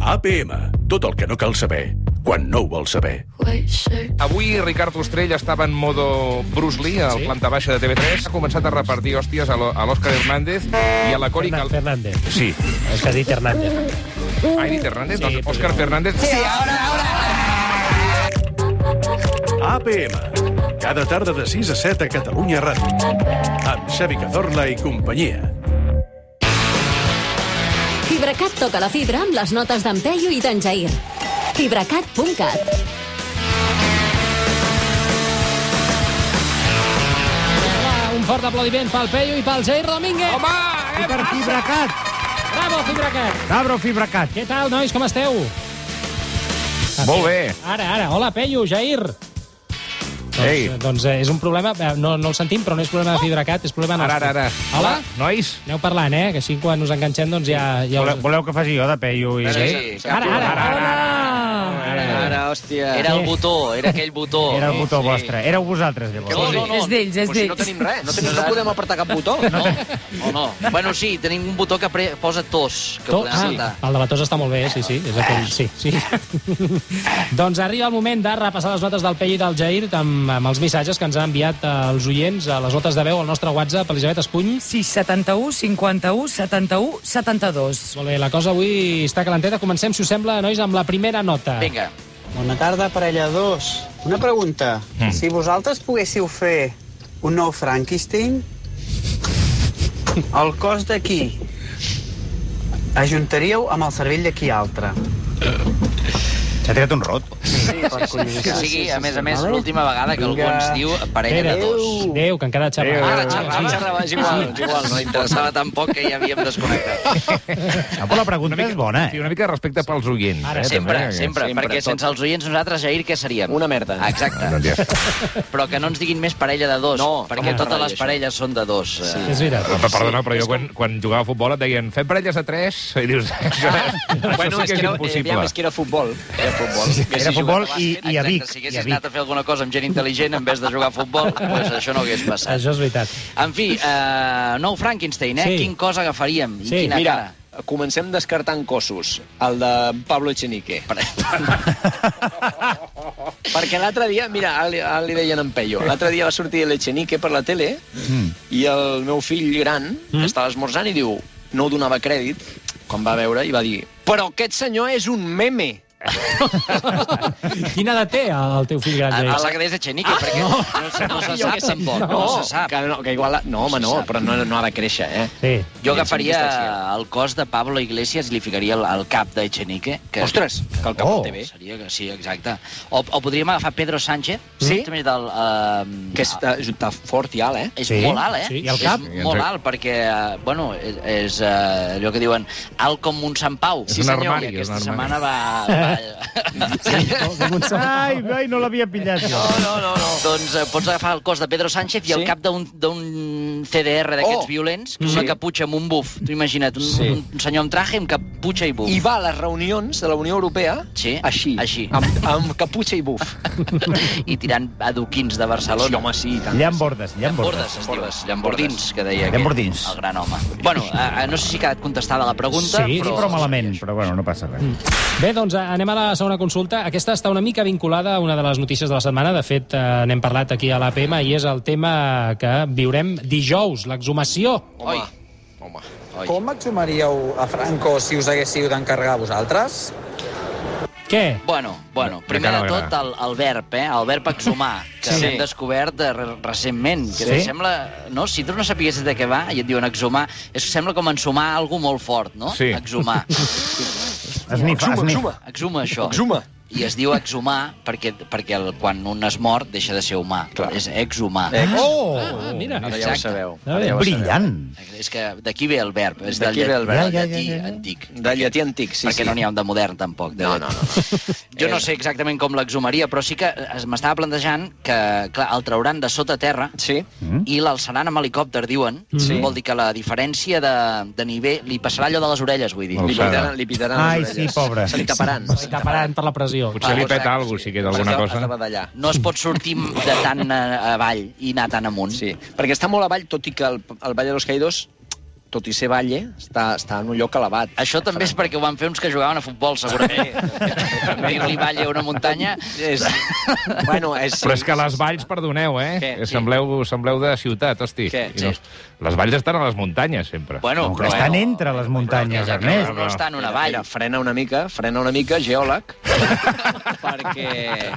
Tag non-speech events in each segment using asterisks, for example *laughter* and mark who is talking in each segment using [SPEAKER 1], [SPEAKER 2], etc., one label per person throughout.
[SPEAKER 1] APM. Tot el que no cal saber, quan no ho vols saber.
[SPEAKER 2] Wait, shake.
[SPEAKER 3] Avui Ricard Ostrell estava en modo Bruce Lee, al sí? planta baixa de TV3. Ha començat a repartir hòsties a l'O- a l'Òscar Hernández i a la Cori Cal...
[SPEAKER 4] Fernández.
[SPEAKER 3] Sí,
[SPEAKER 4] És que has dit Hernández.
[SPEAKER 3] Airit Hernández,
[SPEAKER 4] Sí,
[SPEAKER 3] doncs
[SPEAKER 4] però-
[SPEAKER 3] Òscar Fernández. Sí,
[SPEAKER 1] APM. Cada tarda de 6 a 7 a Catalunya Ràdio. Amb Xavi Cazorla i companyia.
[SPEAKER 5] FibraCat toca la fibra amb les notes d'en Peyu i d'en Jair. FibraCat.cat
[SPEAKER 6] Un fort aplaudiment pel Peyu i pel Jair Domínguez.
[SPEAKER 3] Home! eh?
[SPEAKER 4] I per Fibracat.
[SPEAKER 6] Bravo, Fibracat.
[SPEAKER 4] Cabro Fibracat.
[SPEAKER 6] Què tal, nois? Com esteu?
[SPEAKER 3] Eh? Molt bé.
[SPEAKER 6] Ara, ara. Hola, Peyu, Jair.
[SPEAKER 3] Ei.
[SPEAKER 6] Doncs, doncs eh, és un problema, eh, no, no el sentim, però no és problema de Fibracat, és problema
[SPEAKER 3] Ara,
[SPEAKER 6] nostre.
[SPEAKER 3] ara, ara.
[SPEAKER 6] Hola?
[SPEAKER 3] Nois?
[SPEAKER 6] Aneu parlant, eh? Que així quan us enganxem, doncs ja... ja us...
[SPEAKER 4] voleu que faci jo de Peyu i...
[SPEAKER 7] Sí, sí.
[SPEAKER 6] Ara, ara, ara. ara.
[SPEAKER 7] Ara, hòstia.
[SPEAKER 6] Era
[SPEAKER 7] Era
[SPEAKER 6] el
[SPEAKER 7] el botó, era aquell botó.
[SPEAKER 4] Era el botó vostre. Éreu vosaltres, llavors.
[SPEAKER 7] No, no, no.
[SPEAKER 8] És d'ells, és
[SPEAKER 7] Però si
[SPEAKER 8] d'ells.
[SPEAKER 7] no tenim res, no, tenim, no podem apretar cap botó. No, o no. Bueno, sí, tenim un botó que pre... posa tos, que
[SPEAKER 6] To-
[SPEAKER 7] podem
[SPEAKER 6] Ah,
[SPEAKER 7] apretar.
[SPEAKER 6] el de Batós està molt bé, eh? sí, sí, és aquell, sí, *laughs* sí. doncs arriba el moment de repassar les notes del Peyu i del Jair amb, amb els missatges que ens han enviat eh, els oients a les notes de veu al nostre WhatsApp, Elisabet Espuny.
[SPEAKER 8] Sí, 71, 51, 71, 72.
[SPEAKER 6] Molt bé, la cosa avui està calenteta. Comencem, si us sembla, nois, amb la primera nota.
[SPEAKER 7] Vinga.
[SPEAKER 9] Bona tarda, parella 2. Una pregunta.
[SPEAKER 4] Hmm.
[SPEAKER 9] Mm. Si vosaltres poguéssiu fer un nou Frankenstein, el cos de qui ajuntaríeu amb el cervell de qui altre?
[SPEAKER 4] S'ha tirat un rot.
[SPEAKER 9] Per
[SPEAKER 7] Que
[SPEAKER 9] curiositat.
[SPEAKER 7] sigui, a més a més,
[SPEAKER 9] Vale?
[SPEAKER 7] l'última vegada que algú
[SPEAKER 9] Vinga.
[SPEAKER 7] ens diu parella de
[SPEAKER 6] Adéu.
[SPEAKER 7] dos.
[SPEAKER 6] Déu, que encara xerrava.
[SPEAKER 7] Ara xerrava, xerrava, és igual, és igual, no interessava tan poc que ja havíem desconnectat.
[SPEAKER 4] No, Ah, però la pregunta és bona,
[SPEAKER 3] Sí,
[SPEAKER 4] eh?
[SPEAKER 3] una mica de respecte pels oients.
[SPEAKER 6] Ara,
[SPEAKER 3] eh,
[SPEAKER 7] Sempre,
[SPEAKER 3] també,
[SPEAKER 7] sempre,
[SPEAKER 3] que-
[SPEAKER 7] perquè sense els oients nosaltres, Jair, què seríem?
[SPEAKER 10] Una merda.
[SPEAKER 7] Exacte.
[SPEAKER 3] Doncs ja està.
[SPEAKER 7] Però que no ens diguin més parella de dos,
[SPEAKER 10] No,
[SPEAKER 7] perquè
[SPEAKER 10] com
[SPEAKER 7] totes
[SPEAKER 10] parella,
[SPEAKER 7] les
[SPEAKER 10] això?
[SPEAKER 7] parelles són de dos. Eh,
[SPEAKER 6] És veritat.
[SPEAKER 3] Però, Perdona, però jo quan, quan jugava a futbol et deien fem parelles de tres, i dius, això, bueno, això sí que
[SPEAKER 7] eh,
[SPEAKER 3] és
[SPEAKER 10] era,
[SPEAKER 3] impossible.
[SPEAKER 10] aviam, és que era futbol. Era futbol.
[SPEAKER 4] Era futbol i, i a
[SPEAKER 7] Exacte,
[SPEAKER 4] Vic.
[SPEAKER 7] si
[SPEAKER 4] I a
[SPEAKER 7] haguessis
[SPEAKER 4] Vic.
[SPEAKER 7] anat a fer alguna cosa amb gent intel·ligent en vez de jugar a futbol, doncs això no hagués passat.
[SPEAKER 6] Això és veritat.
[SPEAKER 7] En fi, eh, nou Frankenstein, eh?
[SPEAKER 6] Sí.
[SPEAKER 7] Sí. Quin cos agafaríem?
[SPEAKER 6] Sí.
[SPEAKER 7] I quina
[SPEAKER 10] Mira,
[SPEAKER 7] cara?
[SPEAKER 10] comencem descartant cossos. El de Pablo Echenique.
[SPEAKER 7] *laughs*
[SPEAKER 10] Perquè l'altre dia, mira, ara li, ara li deien en Peyo, l'altre dia va sortir l'Echenique per la tele i el meu fill gran mm. estava esmorzant i diu, no ho donava crèdit, quan va veure i va dir, però aquest senyor és un meme.
[SPEAKER 6] Quina edat té el teu fill gran,
[SPEAKER 7] A, a
[SPEAKER 6] Jair?
[SPEAKER 7] la que és Echenique, ah, perquè no, no, se- no se
[SPEAKER 10] Jo
[SPEAKER 7] sap
[SPEAKER 10] què sé.
[SPEAKER 7] tampoc, no, no se sap.
[SPEAKER 10] Que, no, que igual... No, home, no, però no, no ha de créixer, eh?
[SPEAKER 6] Sí.
[SPEAKER 7] Jo
[SPEAKER 10] Echenique
[SPEAKER 7] agafaria el cos de Pablo Iglesias i li ficaria el, el cap d'Echenique. Que...
[SPEAKER 10] Ostres, que el cap
[SPEAKER 4] Oh.
[SPEAKER 10] oh. TV.
[SPEAKER 7] Seria que sí, exacte. O, o podríem agafar Pedro Sánchez.
[SPEAKER 10] Sí?
[SPEAKER 7] També Del, uh,
[SPEAKER 10] Que està, està fort i alt, eh?
[SPEAKER 7] És
[SPEAKER 4] Sí,
[SPEAKER 7] sí, molt alt, eh?
[SPEAKER 4] sí, i el cap?
[SPEAKER 7] És molt alt, perquè, eh, bueno, és, és eh, allò que diuen alt com un Sant Pau.
[SPEAKER 3] És
[SPEAKER 7] sí,
[SPEAKER 3] un
[SPEAKER 7] senyor,
[SPEAKER 3] armari, és un
[SPEAKER 7] i aquesta
[SPEAKER 3] armari.
[SPEAKER 7] setmana va... *laughs* va...
[SPEAKER 4] Ai, ai, no l'havia pillat jo.
[SPEAKER 7] no, no, no. Doncs eh, pots agafar el cos de Pedro Sánchez i el
[SPEAKER 10] Sí?
[SPEAKER 7] cap d'un d'un CDR d'aquests
[SPEAKER 10] Oh!
[SPEAKER 7] violents, que és una
[SPEAKER 10] Sí.
[SPEAKER 7] caputxa amb un buf. Tu imagina't, un,
[SPEAKER 10] Sí.
[SPEAKER 7] un senyor amb traje amb caputxa i buf.
[SPEAKER 10] I va a les reunions de la Unió Europea
[SPEAKER 7] Sí,
[SPEAKER 10] així,
[SPEAKER 7] així.
[SPEAKER 10] Amb, amb caputxa i buf.
[SPEAKER 7] *laughs* I tirant adoquins de Barcelona.
[SPEAKER 10] Sí, home, sí, i tant.
[SPEAKER 4] Llambordes, llambordes.
[SPEAKER 7] Llambordes, es diu, Llambordins, que deia
[SPEAKER 4] Llambordins.
[SPEAKER 7] aquest, el gran home. Bueno, eh, eh, no sé si ha quedat contestada la pregunta,
[SPEAKER 6] Sí,
[SPEAKER 4] Sí, però malament, però bueno, no passa
[SPEAKER 3] Mm.
[SPEAKER 4] res.
[SPEAKER 6] Bé, doncs eh, anem a la segona consulta. Aquesta està una mica vinculada a una de les notícies de la setmana. De fet, eh, n'hem parlat aquí a l'APM i és el tema que viurem dijous, l'exhumació.
[SPEAKER 7] Oi,
[SPEAKER 10] Home.
[SPEAKER 9] Com exhumaríeu a Franco si us haguéssiu d'encarregar vosaltres?
[SPEAKER 6] Què?
[SPEAKER 10] Oh!
[SPEAKER 7] Bueno, bueno,
[SPEAKER 3] De
[SPEAKER 7] primer
[SPEAKER 3] cara
[SPEAKER 7] de
[SPEAKER 3] al gra.
[SPEAKER 7] tot el, el verb, eh? El verb exhumar, que
[SPEAKER 10] Sí.
[SPEAKER 7] sí. hem descobert de, re- recentment. Que
[SPEAKER 4] Sí?
[SPEAKER 7] sí? sembla, no? Si tu no sapiguessis de què va i et diuen exhumar, és que sembla com ensumar algú molt fort, no?
[SPEAKER 3] Sí.
[SPEAKER 10] *laughs*
[SPEAKER 7] Exhumar.
[SPEAKER 4] Esnifa,
[SPEAKER 10] Exuma,
[SPEAKER 4] esnifa.
[SPEAKER 10] exuma.
[SPEAKER 7] Exhuma això.
[SPEAKER 10] Exuma.
[SPEAKER 7] I es diu exhumar perquè, perquè el, quan un es mor deixa de ser humà.
[SPEAKER 10] Clar.
[SPEAKER 7] És exhumar.
[SPEAKER 10] Eh,
[SPEAKER 4] Oh!
[SPEAKER 6] Ah, mira.
[SPEAKER 10] Ara ja ho
[SPEAKER 7] Exacte.
[SPEAKER 10] sabeu.
[SPEAKER 6] Ah,
[SPEAKER 10] Ara ja ho sabeu.
[SPEAKER 4] Brillant.
[SPEAKER 7] És que d'aquí ve el verb. És del,
[SPEAKER 10] D'aquí ve el
[SPEAKER 7] llat-
[SPEAKER 10] verb.
[SPEAKER 7] del
[SPEAKER 4] Ja, ja,
[SPEAKER 7] llatí
[SPEAKER 4] ja, ja.
[SPEAKER 7] antic.
[SPEAKER 10] De llatí antic, sí,
[SPEAKER 7] perquè
[SPEAKER 10] sí.
[SPEAKER 7] no n'hi ha un de modern, tampoc. De
[SPEAKER 10] No,
[SPEAKER 7] llatí.
[SPEAKER 10] no, no.
[SPEAKER 7] *laughs* Jo no sé exactament com l'exhumaria, però sí que es- m'estava plantejant que, clar, el trauran de sota terra
[SPEAKER 10] Sí.
[SPEAKER 4] Mm.
[SPEAKER 7] i l'alçaran amb helicòpter, diuen.
[SPEAKER 10] Sí.
[SPEAKER 7] Vol dir que la diferència de, de nivell... Li passarà allò de les orelles, vull dir.
[SPEAKER 3] Molt
[SPEAKER 10] Li
[SPEAKER 3] Alçada.
[SPEAKER 10] pitaran, li pitaran
[SPEAKER 4] Ai,
[SPEAKER 10] les
[SPEAKER 4] sí,
[SPEAKER 10] orelles.
[SPEAKER 4] pobre.
[SPEAKER 10] Se li taparan.
[SPEAKER 6] Està taparant per la pressió.
[SPEAKER 3] Potser
[SPEAKER 10] Ah,
[SPEAKER 3] li
[SPEAKER 7] Clar,
[SPEAKER 3] peta
[SPEAKER 7] exacte,
[SPEAKER 3] alguna cosa,
[SPEAKER 7] sí.
[SPEAKER 3] si queda alguna
[SPEAKER 10] Has de
[SPEAKER 3] cosa.
[SPEAKER 10] badallar.
[SPEAKER 7] No es pot sortir de tan eh, avall i anar tan amunt.
[SPEAKER 10] Sí, perquè està molt avall, tot i que el, el Vall de los Caídos tot i ser Valle, està, està en un lloc elevat.
[SPEAKER 7] Això també és perquè ho van fer uns que jugaven a futbol, segurament. Dir-li Valle a una muntanya...
[SPEAKER 10] És, bueno, és...
[SPEAKER 3] Però és que les valls, perdoneu, eh?
[SPEAKER 7] Què? Què?
[SPEAKER 3] Sembleu, sembleu de ciutat, hosti.
[SPEAKER 7] Què?
[SPEAKER 3] I no- Les valls estan a les muntanyes, sempre.
[SPEAKER 7] Bueno,
[SPEAKER 4] No, que estan entre les muntanyes,
[SPEAKER 7] però,
[SPEAKER 4] Ernest.
[SPEAKER 7] però no està en una vall.
[SPEAKER 10] Mira, frena una mica, frena una mica, geòleg, perquè...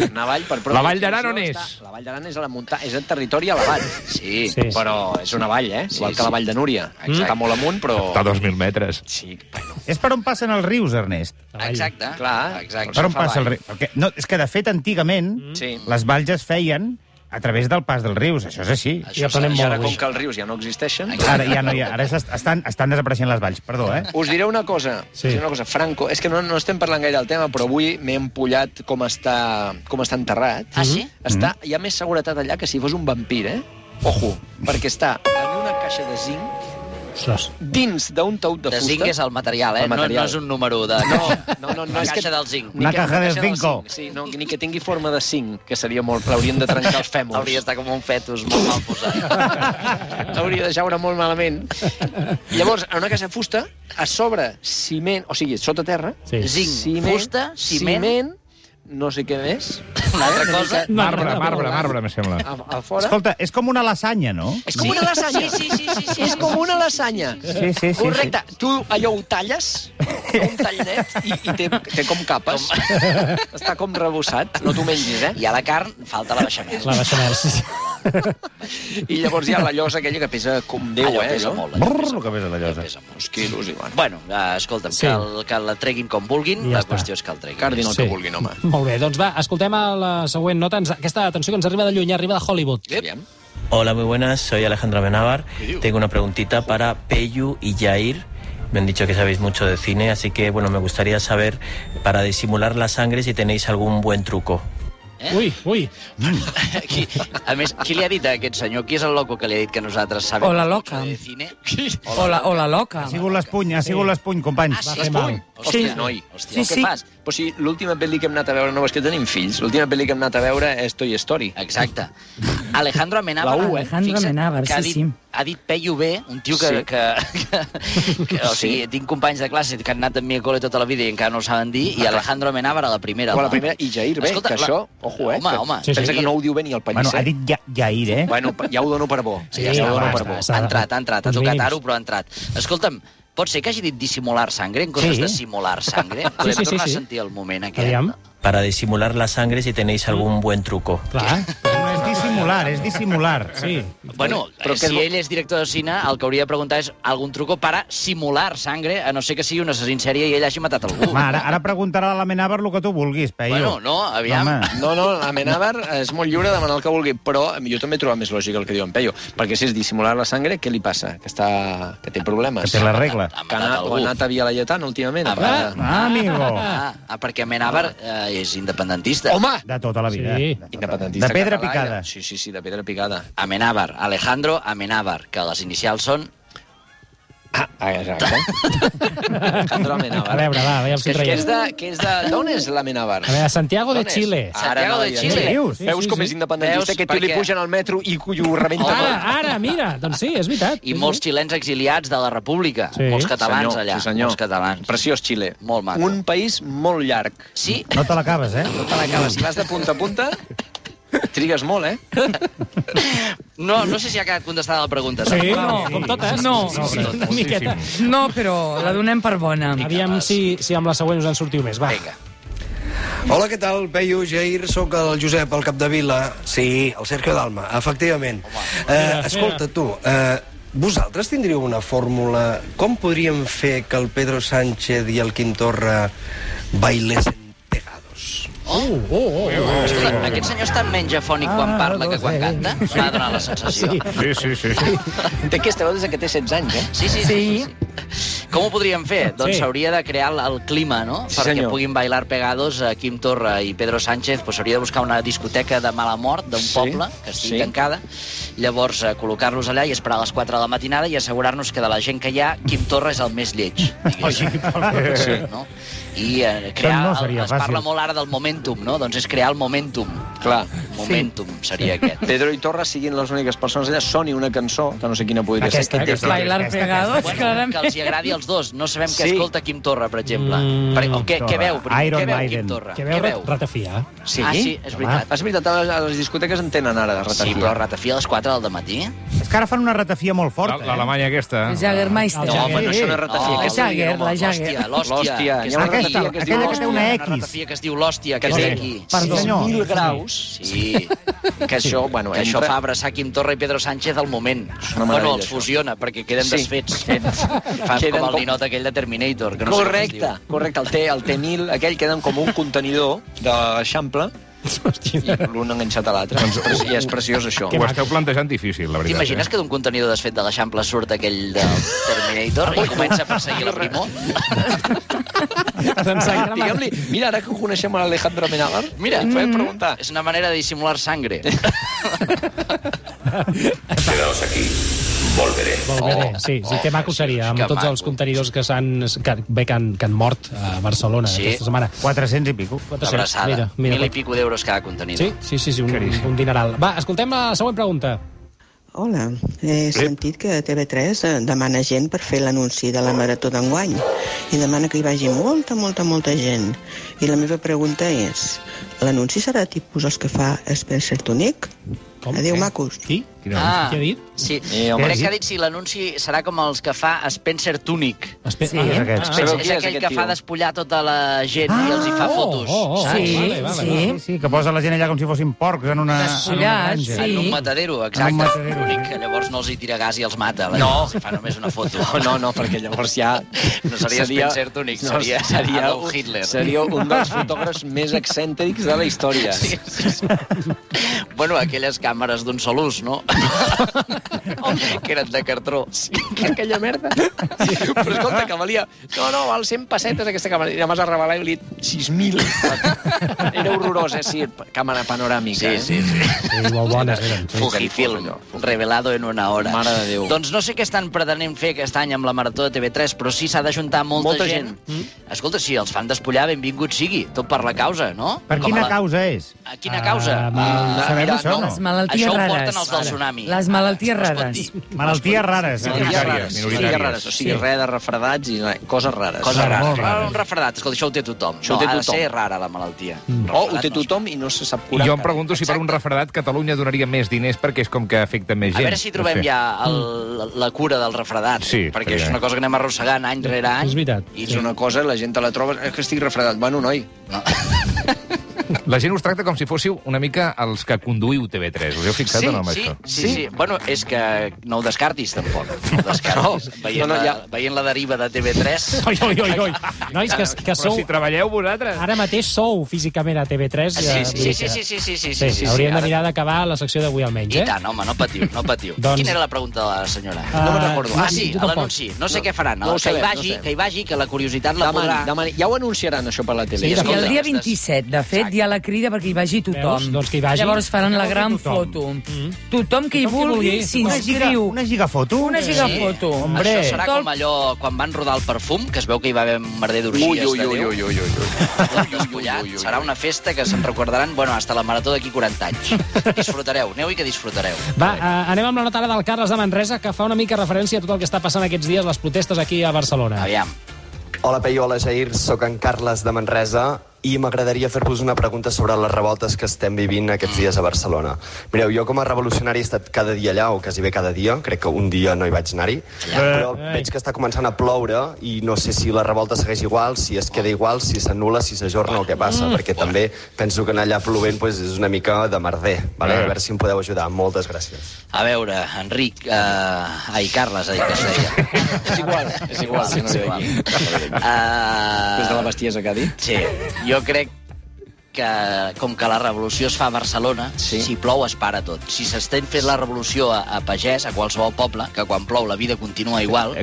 [SPEAKER 10] Una vall, per pròpia
[SPEAKER 3] La Vall d'Aran on
[SPEAKER 10] definició,
[SPEAKER 3] és?
[SPEAKER 10] està- La Vall d'Aran és a la munta... és en territori elevat. Sí,
[SPEAKER 6] Sí.
[SPEAKER 10] sí, però és una vall, eh? Igual
[SPEAKER 7] Sí,
[SPEAKER 10] que
[SPEAKER 7] sí.
[SPEAKER 10] la Vall de Núria. Està molt amunt, però...
[SPEAKER 3] Està a 2.000 metres.
[SPEAKER 10] Sí, bueno,
[SPEAKER 4] És per on passen els rius, Ernest.
[SPEAKER 7] Exacte.
[SPEAKER 10] Clar,
[SPEAKER 7] exacte.
[SPEAKER 4] Per on
[SPEAKER 10] fa
[SPEAKER 4] passa el
[SPEAKER 10] vall.
[SPEAKER 4] riu? Perquè, no, és que, de fet, antigament,
[SPEAKER 3] Mm.
[SPEAKER 10] sí.
[SPEAKER 4] les valls es feien a través del pas dels rius. Això és així.
[SPEAKER 7] Això
[SPEAKER 6] Ja aprenem
[SPEAKER 10] I
[SPEAKER 6] molt
[SPEAKER 10] ara,
[SPEAKER 6] avui.
[SPEAKER 10] com que els rius ja no existeixen...
[SPEAKER 4] Ara ja no hi ha, ara s'est- estan, estan desapareixent les valls, perdó, eh?
[SPEAKER 10] Us diré una cosa,
[SPEAKER 6] Sí.
[SPEAKER 10] sí. una cosa, Franco, és que no, no estem parlant gaire del tema, però avui m'he empollat com està, com està enterrat.
[SPEAKER 7] Ah, sí?
[SPEAKER 10] Està, hi ha més seguretat allà que si fos un vampir, eh? Ojo, perquè està en una caixa de zinc
[SPEAKER 6] Ostres.
[SPEAKER 10] dins d'un taüt de,
[SPEAKER 7] De
[SPEAKER 10] fusta.
[SPEAKER 7] zinc és el material, eh?
[SPEAKER 10] El material.
[SPEAKER 7] No, no és un número de...
[SPEAKER 10] *laughs* No, no, no, no
[SPEAKER 7] La
[SPEAKER 10] és
[SPEAKER 7] caixa
[SPEAKER 10] que-
[SPEAKER 7] del zinc.
[SPEAKER 10] Ni
[SPEAKER 4] Una
[SPEAKER 10] que-
[SPEAKER 4] caja de
[SPEAKER 10] del
[SPEAKER 4] zinco.
[SPEAKER 10] zinc, Sí, no, ni que tingui forma de zinc, que seria molt... L'haurien de trencar els
[SPEAKER 7] *laughs*
[SPEAKER 10] fèmurs.
[SPEAKER 7] Hauria d'estar com un fetus molt mal posat.
[SPEAKER 10] hauria de jaure molt malament. Llavors, en una casa de fusta, a sobre ciment, o sigui, sota terra,
[SPEAKER 6] Sí.
[SPEAKER 7] Zinc, fusta, ciment.
[SPEAKER 10] ciment, no sé què més,
[SPEAKER 7] Una altra
[SPEAKER 10] Una
[SPEAKER 7] cosa...
[SPEAKER 10] mica-
[SPEAKER 3] Marbre, marbre, marbre, me sembla.
[SPEAKER 10] a, a fora...
[SPEAKER 4] Escolta, és com una lasanya, no?
[SPEAKER 10] és com una lasanya.
[SPEAKER 7] Sí, sí, sí, sí, sí,
[SPEAKER 10] És com una lasanya.
[SPEAKER 4] Sí, sí, sí.
[SPEAKER 10] Correcte. Tu allò ho talles, un tallinet, i, i té, té com capes.
[SPEAKER 7] *laughs*
[SPEAKER 10] Està com rebussat. No t'ho mengis, eh?
[SPEAKER 7] Hi ha la carn, falta la beixamel.
[SPEAKER 6] La beixamel, sí, sí.
[SPEAKER 10] I llavors hi ha la llosa aquella que pesa com Déu,
[SPEAKER 7] Allò
[SPEAKER 10] eh?
[SPEAKER 7] pesa
[SPEAKER 10] allò?
[SPEAKER 7] molt. allò
[SPEAKER 4] Brrr,
[SPEAKER 7] pesa
[SPEAKER 4] el que pesa la llosa.
[SPEAKER 7] Pesa molt.
[SPEAKER 10] Uns quilos, i bueno.
[SPEAKER 7] Bueno, eh, escolta'm,
[SPEAKER 6] Sí.
[SPEAKER 7] que, el, que la treguin com vulguin,
[SPEAKER 6] Ja
[SPEAKER 7] la
[SPEAKER 6] està.
[SPEAKER 7] qüestió és que el treguin.
[SPEAKER 10] Cardin el
[SPEAKER 6] Sí.
[SPEAKER 10] que vulguin, home.
[SPEAKER 6] Molt bé, doncs va, escoltem a la següent nota. Ens, aquesta atenció que ens arriba de lluny, arriba de Hollywood.
[SPEAKER 10] Aviam.
[SPEAKER 2] Hola, muy buenas. Soy Alejandra Benavar. Tengo una preguntita para Peyu y Jair. Me han dicho que sabéis mucho de cine, así que bueno, me gustaría saber para disimular la sangre si tenéis algún buen truco.
[SPEAKER 7] Eh?
[SPEAKER 6] Ui, ui.
[SPEAKER 10] Mm.
[SPEAKER 7] *laughs* Qui, a més, qui li ha dit a aquest senyor? Qui és el loco que li ha dit que nosaltres sabem...
[SPEAKER 8] O la loca.
[SPEAKER 7] De cine?
[SPEAKER 8] O la, o la loca.
[SPEAKER 4] Ha sigut l'espuny, ha sigut l'espuny, companys.
[SPEAKER 10] Ah,
[SPEAKER 6] Va fer mal.
[SPEAKER 10] Hòstia,
[SPEAKER 7] Hòstia,
[SPEAKER 10] noi.
[SPEAKER 7] Hòstia,
[SPEAKER 8] Sí,
[SPEAKER 7] què
[SPEAKER 8] sí.
[SPEAKER 7] fas?
[SPEAKER 10] Però si l'última pel·li que hem anat a veure, no és que tenim fills, l'última pel·li que hem anat a veure és Toy Story.
[SPEAKER 7] Exacte. Alejandro Amenábar.
[SPEAKER 10] La U, eh?
[SPEAKER 7] Fixa't
[SPEAKER 8] Alejandro Amenábar,
[SPEAKER 7] que ha
[SPEAKER 8] sí,
[SPEAKER 7] dit,
[SPEAKER 8] sí.
[SPEAKER 7] Ha dit Peyu B, un tio que...
[SPEAKER 10] Sí.
[SPEAKER 7] que, que, que o sigui, tinc companys de classe que han anat amb mi a col·le tota la vida i encara no ho saben dir, i Alejandro Amenábar a la primera.
[SPEAKER 10] O a la primera, i Jair, bé, que
[SPEAKER 7] la-
[SPEAKER 10] això, ojo, eh,
[SPEAKER 7] Home,
[SPEAKER 10] que
[SPEAKER 7] home.
[SPEAKER 6] Sí, sí.
[SPEAKER 10] Pensa que no ho diu bé ni el
[SPEAKER 4] Bueno,
[SPEAKER 10] Pellicer.
[SPEAKER 4] ha dit ja, Jair, eh?
[SPEAKER 10] Bueno, ja ho dono per bo.
[SPEAKER 6] Sí, Doncs
[SPEAKER 10] ja
[SPEAKER 6] va,
[SPEAKER 10] ho dono
[SPEAKER 6] va,
[SPEAKER 10] per bo.
[SPEAKER 6] està.
[SPEAKER 7] Ha entrat, ha entrat, ha
[SPEAKER 6] Uns
[SPEAKER 7] tocat
[SPEAKER 6] mínims.
[SPEAKER 7] ara però ha entrat. Escolta'm, pot ser que hagi dit dissimular sangre en comptes
[SPEAKER 4] Sí.
[SPEAKER 7] de simular sangre? Podem
[SPEAKER 6] sí, sí,
[SPEAKER 7] tornar
[SPEAKER 6] sí.
[SPEAKER 7] a sentir el moment aquest.
[SPEAKER 6] Aviam.
[SPEAKER 2] Para disimular la sangre si tenéis algún buen truco.
[SPEAKER 6] Clar.
[SPEAKER 4] No és dissimular, és dissimular.
[SPEAKER 6] Sí.
[SPEAKER 7] Bueno,
[SPEAKER 10] Però
[SPEAKER 7] eh,
[SPEAKER 10] que
[SPEAKER 7] si
[SPEAKER 10] no-
[SPEAKER 7] ell és director de cine, el que hauria de preguntar és algun truco para simular sangre, a no ser que sigui un assassí en sèrie i ell hagi matat algú.
[SPEAKER 6] *laughs*
[SPEAKER 4] Home, ara, ara preguntarà a la Menàver el que tu vulguis, Peyu.
[SPEAKER 7] Bueno, no, aviam.
[SPEAKER 4] Home.
[SPEAKER 10] No, no, Amenábar és molt lliure de demanar el que vulgui, però jo també he trobat més lògic el que diu en Peyo, perquè si és dissimular la sangre, què li passa? Que, està... que té problemes.
[SPEAKER 4] Que té la regla.
[SPEAKER 7] Ha
[SPEAKER 10] Que ha
[SPEAKER 7] matat
[SPEAKER 10] anat, o
[SPEAKER 7] algú.
[SPEAKER 10] ha anat a Via Laietana últimament. a vegades.
[SPEAKER 4] Ah, amigo.
[SPEAKER 7] Ah, ah, perquè Amenábar eh, és independentista.
[SPEAKER 10] Home!
[SPEAKER 4] De tota la vida.
[SPEAKER 6] Sí.
[SPEAKER 4] De tota-
[SPEAKER 10] Independentista
[SPEAKER 4] De pedra
[SPEAKER 10] català,
[SPEAKER 4] picada.
[SPEAKER 10] Sí, sí, sí, de pedra picada.
[SPEAKER 7] Amenábar, Alejandro Amenábar, que les inicials són...
[SPEAKER 10] Ah,
[SPEAKER 7] *laughs*
[SPEAKER 10] exacte. Alejandro
[SPEAKER 6] A
[SPEAKER 10] Amenábar.
[SPEAKER 6] veure, va, veiem si
[SPEAKER 10] Que és, que és
[SPEAKER 6] traiem.
[SPEAKER 10] de... Que és de... D'on és l'Amenábar?
[SPEAKER 6] A veure, Santiago de
[SPEAKER 10] D'on és?
[SPEAKER 6] Xile.
[SPEAKER 7] Santiago
[SPEAKER 10] no
[SPEAKER 7] de
[SPEAKER 10] diries.
[SPEAKER 4] Què
[SPEAKER 7] Xile.
[SPEAKER 4] dius?
[SPEAKER 6] Sí,
[SPEAKER 10] Veus
[SPEAKER 6] sí,
[SPEAKER 10] com
[SPEAKER 6] sí.
[SPEAKER 10] és independentista,
[SPEAKER 7] Veus?
[SPEAKER 10] que tu li
[SPEAKER 7] Perquè-
[SPEAKER 10] pugen al metro i i ho rebenta
[SPEAKER 6] Ara,
[SPEAKER 10] tot.
[SPEAKER 6] Ah, ara, mira, doncs sí, és veritat.
[SPEAKER 7] I molts xilens exiliats de la República.
[SPEAKER 6] Sí.
[SPEAKER 7] Molts catalans
[SPEAKER 10] Senyor,
[SPEAKER 7] allà.
[SPEAKER 10] sí, senyor.
[SPEAKER 7] Molts catalans.
[SPEAKER 10] Preciós Xile.
[SPEAKER 7] Molt maco.
[SPEAKER 10] Un país molt llarg.
[SPEAKER 7] Sí,
[SPEAKER 4] No te l'acabes, eh?
[SPEAKER 10] Te l'acabes. Si vas de punta a punta, trigues molt, eh?
[SPEAKER 7] no, no sé si ha quedat contestada la pregunta.
[SPEAKER 6] Sí,
[SPEAKER 7] tampoc.
[SPEAKER 6] no, com totes.
[SPEAKER 8] No.
[SPEAKER 6] sí, sí, una miqueta.
[SPEAKER 8] No, però la donem per bona.
[SPEAKER 6] Aviam si, si amb la següent us en sortiu més, va. Eh,
[SPEAKER 7] Vinga.
[SPEAKER 2] Hola, què tal, Peyu, Jair? Sóc el Josep, el Capdevila. Sí, el Sergio Dalma, efectivament. Eh, escolta, tu, eh, vosaltres tindríeu una fórmula... Com podríem fer que el Pedro Sánchez i el Quim Torra bailessin pegados?
[SPEAKER 7] Escolta, aquest senyor està menys afònic quan parla que quan canta. M'ha donat la sensació.
[SPEAKER 3] Sí, sí, sí. sí.
[SPEAKER 10] Té aquesta veu des que té 16 anys, eh?
[SPEAKER 7] Sí, sí, sí. sí, sí. Com ho podríem fer? Doncs
[SPEAKER 6] Sí.
[SPEAKER 7] s'hauria de crear el, el clima, no?
[SPEAKER 10] Sí,
[SPEAKER 7] Perquè
[SPEAKER 10] senyor.
[SPEAKER 7] puguin bailar pegados a Quim Torra i Pedro Sánchez, doncs hauria de buscar una discoteca de mala mort d'un
[SPEAKER 10] Sí,
[SPEAKER 7] poble que estigui
[SPEAKER 10] sí.
[SPEAKER 7] tancada, llavors eh, col·locar-los allà i esperar a les 4 de la matinada i assegurar-nos que de la gent que hi ha, Quim Torra és el més lleig. diguéssim. Sí, *laughs* no? I eh, crear...
[SPEAKER 11] no
[SPEAKER 7] el-
[SPEAKER 11] seria
[SPEAKER 7] es
[SPEAKER 11] fàcil.
[SPEAKER 7] parla molt ara del momentum, no? Doncs és crear el momentum.
[SPEAKER 10] Clar.
[SPEAKER 7] Momentum seria
[SPEAKER 10] *laughs*
[SPEAKER 7] aquest.
[SPEAKER 10] Pedro i Torra siguin les úniques persones allà, soni una cançó, que no sé quina podria
[SPEAKER 7] Aquesta,
[SPEAKER 10] ser.
[SPEAKER 7] aquesta,
[SPEAKER 8] Bailar aquesta, pegados, aquesta.
[SPEAKER 7] Bueno, que els hi agradi als dos. No sabem què
[SPEAKER 10] Sí.
[SPEAKER 7] escolta Quim Torra, per exemple.
[SPEAKER 6] Mm,
[SPEAKER 7] Per- o què, què
[SPEAKER 6] Torra.
[SPEAKER 7] veu? primer?
[SPEAKER 6] Iron
[SPEAKER 7] què veu
[SPEAKER 6] Maiden.
[SPEAKER 7] Quim Torra?
[SPEAKER 6] Que veu, veu? Ratafia.
[SPEAKER 10] Sí?
[SPEAKER 7] Ah, sí, és veritat.
[SPEAKER 10] És veritat, a les, a les discoteques en tenen ara de ratafia.
[SPEAKER 7] Sí, però ratafia a les 4 del matí?
[SPEAKER 11] És que ara fan una ratafia molt forta.
[SPEAKER 4] eh?
[SPEAKER 3] L'Alemanya aquesta... eh?
[SPEAKER 8] El Jagermeister.
[SPEAKER 7] No, home, no és una ratafia.
[SPEAKER 8] La
[SPEAKER 7] aquesta
[SPEAKER 8] Jagger,
[SPEAKER 7] diu, home,
[SPEAKER 8] la Jagger.
[SPEAKER 7] L'hòstia, l'hòstia.
[SPEAKER 10] L'hòstia,
[SPEAKER 7] que és
[SPEAKER 10] hi ha
[SPEAKER 11] Aquesta, aquella
[SPEAKER 7] l'hòstia,
[SPEAKER 10] una ratafia que es diu
[SPEAKER 11] que té una
[SPEAKER 7] Una
[SPEAKER 11] X.
[SPEAKER 7] ratafia que es diu l'hòstia, que
[SPEAKER 10] Que
[SPEAKER 7] és
[SPEAKER 10] té
[SPEAKER 7] d'aquí.
[SPEAKER 8] Perdó.
[SPEAKER 11] Sí, senyor.
[SPEAKER 10] mil graus.
[SPEAKER 7] Sí,
[SPEAKER 10] Que això, bueno,
[SPEAKER 7] que això fa abraçar Quim Torra i Pedro Sánchez al moment.
[SPEAKER 10] una meravella,
[SPEAKER 7] Bueno, els
[SPEAKER 10] això.
[SPEAKER 7] fusiona, perquè queden
[SPEAKER 10] Sí. *laughs*
[SPEAKER 7] desfets. Fan
[SPEAKER 10] Queden
[SPEAKER 7] com el
[SPEAKER 10] com-
[SPEAKER 7] ninot aquell de Terminator. Que no sé com es diu.
[SPEAKER 10] Correcte, correcte. El T, el T1000, aquell queden com un contenidor d'eixample
[SPEAKER 7] *laughs*
[SPEAKER 10] i l'un enganxat a l'altre. I és preciós, això.
[SPEAKER 3] Ho esteu plantejant difícil, la veritat. eh?
[SPEAKER 7] T'imagines que d'un contenidor desfet de l'Eixample surt aquell del Terminator i comença a perseguir la Primo?
[SPEAKER 6] Doncs
[SPEAKER 10] Diguem-li, mira, ara que coneixem a l'Alejandro Menagar, mira, ens
[SPEAKER 7] Mm.
[SPEAKER 10] podem preguntar.
[SPEAKER 7] *laughs* És una manera de dissimular sangre.
[SPEAKER 12] Quedaos aquí. Volveré.
[SPEAKER 6] Volveré,
[SPEAKER 7] Oh,
[SPEAKER 6] sí, sí,
[SPEAKER 7] oh,
[SPEAKER 6] que maco seria, amb
[SPEAKER 7] que
[SPEAKER 6] tots
[SPEAKER 7] maco.
[SPEAKER 6] els contenidors que s'han que, bé, que, han, que han mort a Barcelona
[SPEAKER 7] Sí.
[SPEAKER 6] aquesta setmana.
[SPEAKER 11] 400 i pico.
[SPEAKER 6] 400,
[SPEAKER 7] Abraçada.
[SPEAKER 6] Mira, mira,
[SPEAKER 7] Mil i pico d'euros cada contenidor.
[SPEAKER 6] Sí, sí, sí, sí un, un dineral. Va, escoltem la següent pregunta.
[SPEAKER 13] Hola, he sentit que TV3 eh, demana gent per fer l'anunci de la Marató d'enguany i demana que hi vagi molta, molta, molta gent. I la meva pregunta és, l'anunci serà tipus els que fa Spencer Tunic?
[SPEAKER 6] Com?
[SPEAKER 13] Adéu,
[SPEAKER 6] Què?
[SPEAKER 13] macos.
[SPEAKER 6] Qui?
[SPEAKER 7] Ah,
[SPEAKER 6] Què ha dit?
[SPEAKER 7] Sí.
[SPEAKER 10] Eh, home.
[SPEAKER 7] Crec que ha dit si l'anunci serà com els que fa Spencer Tunic.
[SPEAKER 6] Espe
[SPEAKER 8] Sí.
[SPEAKER 6] Ah,
[SPEAKER 11] És aquest.
[SPEAKER 7] Ah,
[SPEAKER 10] Sabeu
[SPEAKER 7] és,
[SPEAKER 10] qui
[SPEAKER 7] és
[SPEAKER 10] és
[SPEAKER 7] aquell
[SPEAKER 10] aquest
[SPEAKER 7] que
[SPEAKER 10] tio?
[SPEAKER 7] fa despullar tota la gent i els hi fa
[SPEAKER 6] Ah, oh,
[SPEAKER 7] fotos.
[SPEAKER 6] oh, oh,
[SPEAKER 7] saps?
[SPEAKER 8] Sí,
[SPEAKER 6] vale, vale,
[SPEAKER 8] sí.
[SPEAKER 11] Sí, sí, que posa la gent allà com si fossin porcs en una, en una
[SPEAKER 8] Despullats,
[SPEAKER 11] granja.
[SPEAKER 8] sí.
[SPEAKER 7] En un matadero,
[SPEAKER 11] En
[SPEAKER 7] exacte.
[SPEAKER 11] un matadero,
[SPEAKER 7] L'únic
[SPEAKER 11] sí.
[SPEAKER 7] que llavors no els hi tira gas i els mata. No. Si fa només una foto.
[SPEAKER 10] No, no, no, perquè llavors ja...
[SPEAKER 7] No seria Spencer Tunic, seria Adolf Hitler.
[SPEAKER 10] Seria un dels fotògrafs més excèntrics de la història.
[SPEAKER 7] Sí, sí, sí. bueno, aquelles càmeres d'un sol ús, no? que eren de cartró.
[SPEAKER 10] Que *laughs* aquella merda. Però escolta, que valia... No, no, val 100 pessetes aquesta càmera. I llavors a revelar i li 6.000. *laughs* Era horrorós, eh? Sí, càmera panoràmica.
[SPEAKER 7] Sí,
[SPEAKER 10] eh?
[SPEAKER 7] sí, sí.
[SPEAKER 6] Sí, molt bones eren. Sí.
[SPEAKER 7] Fugifilm, revelado en una hora.
[SPEAKER 10] Mare de Déu.
[SPEAKER 7] Doncs no sé què estan pretenent fer aquest any amb la Marató de TV3, però sí s'ha d'ajuntar molta,
[SPEAKER 10] Molta
[SPEAKER 7] gent.
[SPEAKER 10] gent.
[SPEAKER 7] Escolta, si els fan despullar, benvingut sigui. Tot per la causa, no?
[SPEAKER 11] Per
[SPEAKER 7] Com
[SPEAKER 11] quina
[SPEAKER 7] a la...
[SPEAKER 11] causa és?
[SPEAKER 7] A quina causa?
[SPEAKER 6] Ah, mal-
[SPEAKER 11] sabem això, no?
[SPEAKER 8] Les malalties
[SPEAKER 7] això ho
[SPEAKER 8] rares.
[SPEAKER 7] porten els del tsunami.
[SPEAKER 8] Les malalties rares.
[SPEAKER 11] Malalties rares.
[SPEAKER 10] Sí,
[SPEAKER 11] eh?
[SPEAKER 3] Minoritàries,
[SPEAKER 10] Malalties rares,
[SPEAKER 3] minoritàries.
[SPEAKER 10] minoritàries. rares, o sigui, res de refredats i re- coses rares.
[SPEAKER 7] Cosa
[SPEAKER 11] Molt
[SPEAKER 7] rara.
[SPEAKER 11] rara.
[SPEAKER 7] Un refredat, escolta, això ho té tothom.
[SPEAKER 10] Això ho té
[SPEAKER 7] no,
[SPEAKER 10] tothom.
[SPEAKER 7] ha de ser rara, la malaltia.
[SPEAKER 10] O Mm. Oh, ho
[SPEAKER 7] Refredat doncs.
[SPEAKER 10] té
[SPEAKER 7] no es
[SPEAKER 10] tothom i no se sap
[SPEAKER 3] I
[SPEAKER 10] curar.
[SPEAKER 3] jo em
[SPEAKER 10] encara.
[SPEAKER 3] pregunto si per un refredat Catalunya donaria més diners perquè és com que afecta més gent.
[SPEAKER 7] A veure si trobem
[SPEAKER 3] No sé.
[SPEAKER 7] ja el, la cura del refredat,
[SPEAKER 3] Sí,
[SPEAKER 7] perquè,
[SPEAKER 3] perquè-
[SPEAKER 7] és una cosa que anem arrossegant any rere any.
[SPEAKER 6] És veritat.
[SPEAKER 7] I
[SPEAKER 10] És una cosa, la gent te la troba... És que estic refredat. Bueno, noi,
[SPEAKER 3] *laughs* La gent us tracta com si fóssiu una mica els que conduïu TV3. Us heu fixat
[SPEAKER 7] sí,
[SPEAKER 3] o no amb
[SPEAKER 7] sí,
[SPEAKER 3] això?
[SPEAKER 7] Sí, sí, sí. Bueno, és que no ho descartis, tampoc. No ho descartis.
[SPEAKER 10] No.
[SPEAKER 7] Veient,
[SPEAKER 10] No, no,
[SPEAKER 7] la,
[SPEAKER 10] ja.
[SPEAKER 7] veient la deriva de
[SPEAKER 6] *laughs*
[SPEAKER 7] TV3...
[SPEAKER 6] Oi, oi, oi, oi. Nois, que, que
[SPEAKER 3] Però
[SPEAKER 6] sou...
[SPEAKER 3] si treballeu vosaltres...
[SPEAKER 6] Ara mateix sou físicament a TV3.
[SPEAKER 7] Sí,
[SPEAKER 6] eh, vull
[SPEAKER 7] sí, sí,
[SPEAKER 6] dir
[SPEAKER 7] sí,
[SPEAKER 6] que-
[SPEAKER 7] sí, sí, sí,
[SPEAKER 6] Sí,
[SPEAKER 7] sí, sí, sí,
[SPEAKER 6] hauríem de
[SPEAKER 7] ara-
[SPEAKER 6] mirar d'acabar la secció d'avui almenys,
[SPEAKER 7] I
[SPEAKER 6] eh?
[SPEAKER 7] tant, home, no patiu, no patiu.
[SPEAKER 6] *laughs* Doncs-
[SPEAKER 7] Quina era la pregunta de la senyora?
[SPEAKER 6] Ah,
[SPEAKER 7] no me'n recordo.
[SPEAKER 6] no,
[SPEAKER 7] Ah, sí,
[SPEAKER 6] tu
[SPEAKER 7] a
[SPEAKER 6] tampoc.
[SPEAKER 7] l'anunci. No sé
[SPEAKER 10] No,
[SPEAKER 7] què faran.
[SPEAKER 10] no ho
[SPEAKER 7] El que hi
[SPEAKER 10] sabem, no
[SPEAKER 7] vagi,
[SPEAKER 10] sabem.
[SPEAKER 7] que hi vagi, que la curiositat la podrà...
[SPEAKER 10] demani, demani. Ja ho anunciaran, això, per la tele.
[SPEAKER 6] Sí,
[SPEAKER 10] ja
[SPEAKER 8] I el
[SPEAKER 7] Escolta,
[SPEAKER 8] dia
[SPEAKER 7] ostres.
[SPEAKER 8] 27, de fet, hi ha la crida perquè hi vagi tothom.
[SPEAKER 6] Veus? Doncs que hi vagi.
[SPEAKER 8] Llavors faran la
[SPEAKER 6] Que
[SPEAKER 8] gran
[SPEAKER 6] vagi tothom.
[SPEAKER 8] foto.
[SPEAKER 6] Mm.
[SPEAKER 8] Tothom que hi
[SPEAKER 6] Tothom que vulgui.
[SPEAKER 8] vulgui
[SPEAKER 11] Una giga,
[SPEAKER 8] s'inscriu.
[SPEAKER 11] una gigafoto?
[SPEAKER 8] Una gigafoto.
[SPEAKER 11] Hombre.
[SPEAKER 7] Això serà
[SPEAKER 8] Tot-
[SPEAKER 7] com allò quan van rodar el perfum, que es veu que hi va haver un merder d'orgies
[SPEAKER 10] Ui, ui,
[SPEAKER 7] de
[SPEAKER 10] ui,
[SPEAKER 7] Déu.
[SPEAKER 10] ui, ui, ui, ui.
[SPEAKER 7] Tot despullat. Serà una festa que se'n recordaran, bueno, hasta la marató d'aquí
[SPEAKER 6] *laughs*
[SPEAKER 7] 40 anys. Disfrutareu, aneu i que disfrutareu.
[SPEAKER 6] Va, eh, anem amb la nota ara del Carles de Manresa, que fa una mica referència a tot el que està passant aquests dies, les protestes aquí a Barcelona.
[SPEAKER 7] Aviam.
[SPEAKER 14] Hola, Peyu, hola, Jair, sóc en Carles de Manresa i m'agradaria fer-vos una pregunta sobre les revoltes que estem vivint aquests dies a Barcelona. Mireu, jo com a revolucionari he estat cada dia allà, o quasi bé cada dia, crec que un dia no hi vaig anar-hi, però veig que està començant a ploure i no sé si la revolta segueix igual, si es queda igual, si s'anula, si s'ajorna o què
[SPEAKER 10] Mm.
[SPEAKER 14] passa, perquè també penso que anar allà plovent pues, és una mica de merder,
[SPEAKER 3] Eh.
[SPEAKER 14] vale? a veure si em podeu ajudar. Moltes gràcies.
[SPEAKER 7] A veure, Enric... Uh... Ai, Carles, ha dit que es deia.
[SPEAKER 10] És igual, és igual.
[SPEAKER 7] Sí, *laughs*
[SPEAKER 10] Sí,
[SPEAKER 7] és
[SPEAKER 10] no
[SPEAKER 7] igual.
[SPEAKER 10] igual.
[SPEAKER 7] Uh...
[SPEAKER 10] Des de la bestiesa que ha dit.
[SPEAKER 7] Sí, jo crec que com que la revolució es fa a Barcelona, sí. si plou es para tot. Si s'estén fent la revolució a, a Pagès, a qualsevol poble, que quan plou la vida continua igual,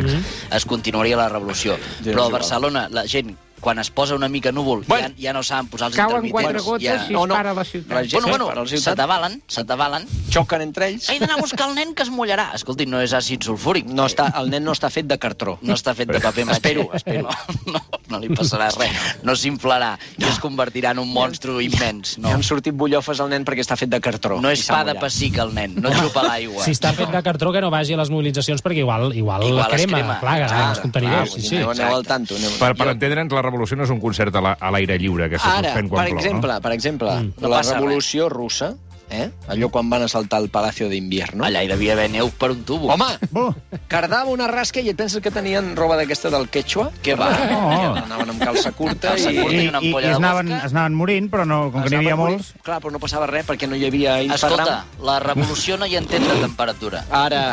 [SPEAKER 7] es continuaria la revolució.
[SPEAKER 10] és
[SPEAKER 7] Però a
[SPEAKER 10] igual.
[SPEAKER 7] Barcelona la gent quan es posa una mica núvol, bueno, ja, ja no saben posar els
[SPEAKER 10] Cauen
[SPEAKER 7] intermitents.
[SPEAKER 10] quatre gotes
[SPEAKER 7] ja...
[SPEAKER 10] i es No, no. para la ciutat. La gent
[SPEAKER 7] Bueno,
[SPEAKER 10] es para
[SPEAKER 7] bueno,
[SPEAKER 10] la ciutat.
[SPEAKER 7] s'atabalen, s'atabalen.
[SPEAKER 10] Xoquen entre ells.
[SPEAKER 7] He d'anar a buscar el nen que es mullarà. Escolti, no és àcid sulfúric.
[SPEAKER 10] No està, el nen no està fet de cartró.
[SPEAKER 7] No està fet de paper maché. Espero, espero. No, no li passarà res. No s'inflarà i es convertirà en un monstru immens.
[SPEAKER 10] No.
[SPEAKER 7] No,
[SPEAKER 10] Han sortit bullofes al nen perquè està fet de cartró.
[SPEAKER 7] no és
[SPEAKER 10] I s'ha
[SPEAKER 7] pa de
[SPEAKER 10] mullat.
[SPEAKER 7] pessic el nen, no xupa l'aigua.
[SPEAKER 6] Si està fet de cartró, que no vagi a les mobilitzacions, perquè igual, igual,
[SPEAKER 7] Igual
[SPEAKER 6] la
[SPEAKER 7] es
[SPEAKER 6] crema, crema.
[SPEAKER 7] crema.
[SPEAKER 6] plagues
[SPEAKER 7] Clar,
[SPEAKER 6] ah, els contenidors. sí,
[SPEAKER 7] clar,
[SPEAKER 6] sí.
[SPEAKER 7] vull dir, aneu al
[SPEAKER 10] tanto. Aneu...
[SPEAKER 3] Per, per entendre'ns, la revolució no és un concert a la- a l'aire lliure que se
[SPEAKER 10] Ara,
[SPEAKER 3] suspèn
[SPEAKER 10] per
[SPEAKER 3] quan plou,
[SPEAKER 10] exemple,
[SPEAKER 3] no?
[SPEAKER 10] per exemple, mm.
[SPEAKER 7] No
[SPEAKER 10] la
[SPEAKER 7] passa
[SPEAKER 10] revolució res. russa, eh? allò quan van assaltar el Palacio d'Invierno...
[SPEAKER 7] Allà hi devia haver neu per un tubo.
[SPEAKER 10] Home,
[SPEAKER 11] eh,
[SPEAKER 10] cardava una rasca i et penses que tenien roba d'aquesta del quechua?
[SPEAKER 7] Que va.
[SPEAKER 10] No. Anaven amb calça curta
[SPEAKER 7] Calça
[SPEAKER 10] i...
[SPEAKER 7] curta i
[SPEAKER 11] I,
[SPEAKER 7] una
[SPEAKER 11] i, i es,
[SPEAKER 7] ampolla de
[SPEAKER 11] anaven, es anaven morint, però no, com que n'hi havia
[SPEAKER 10] Anaven
[SPEAKER 11] molts...
[SPEAKER 10] morint. Clar, però no passava res perquè no hi havia Instagram.
[SPEAKER 7] Escolta, la revolució no hi entén de temperatura.
[SPEAKER 10] Ara,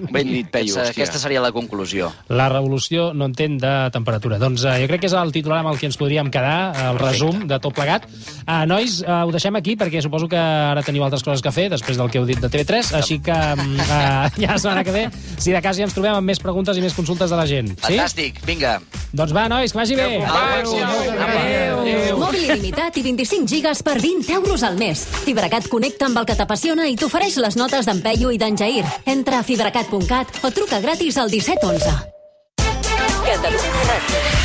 [SPEAKER 10] ben dit, Peyu,
[SPEAKER 7] Aquesta,
[SPEAKER 10] hòstia.
[SPEAKER 7] aquesta seria la conclusió.
[SPEAKER 6] La revolució no entén de temperatura. Doncs eh, jo crec que és el titular amb el que ens podríem quedar, eh, el resum de tot plegat. Eh, nois, eh, ho deixem aquí perquè suposo que ara teniu altres coses que fer després del que heu dit de TV3, així que mm,
[SPEAKER 7] *laughs*
[SPEAKER 6] eh, ja la setmana que ve, si de cas ja ens trobem amb més preguntes i més consultes de la gent. Sí?
[SPEAKER 7] Fantàstic, vinga.
[SPEAKER 6] Doncs va, nois, que vagi bé.
[SPEAKER 5] Mòbil il·limitat i 25 gigas per 20 euros al mes. Fibracat connecta amb el que t'apassiona i t'ofereix les notes d'en Peyu i d'en Jair. Entra a fibracat.cat o truca gratis al 1711. Catalunya Ràdio.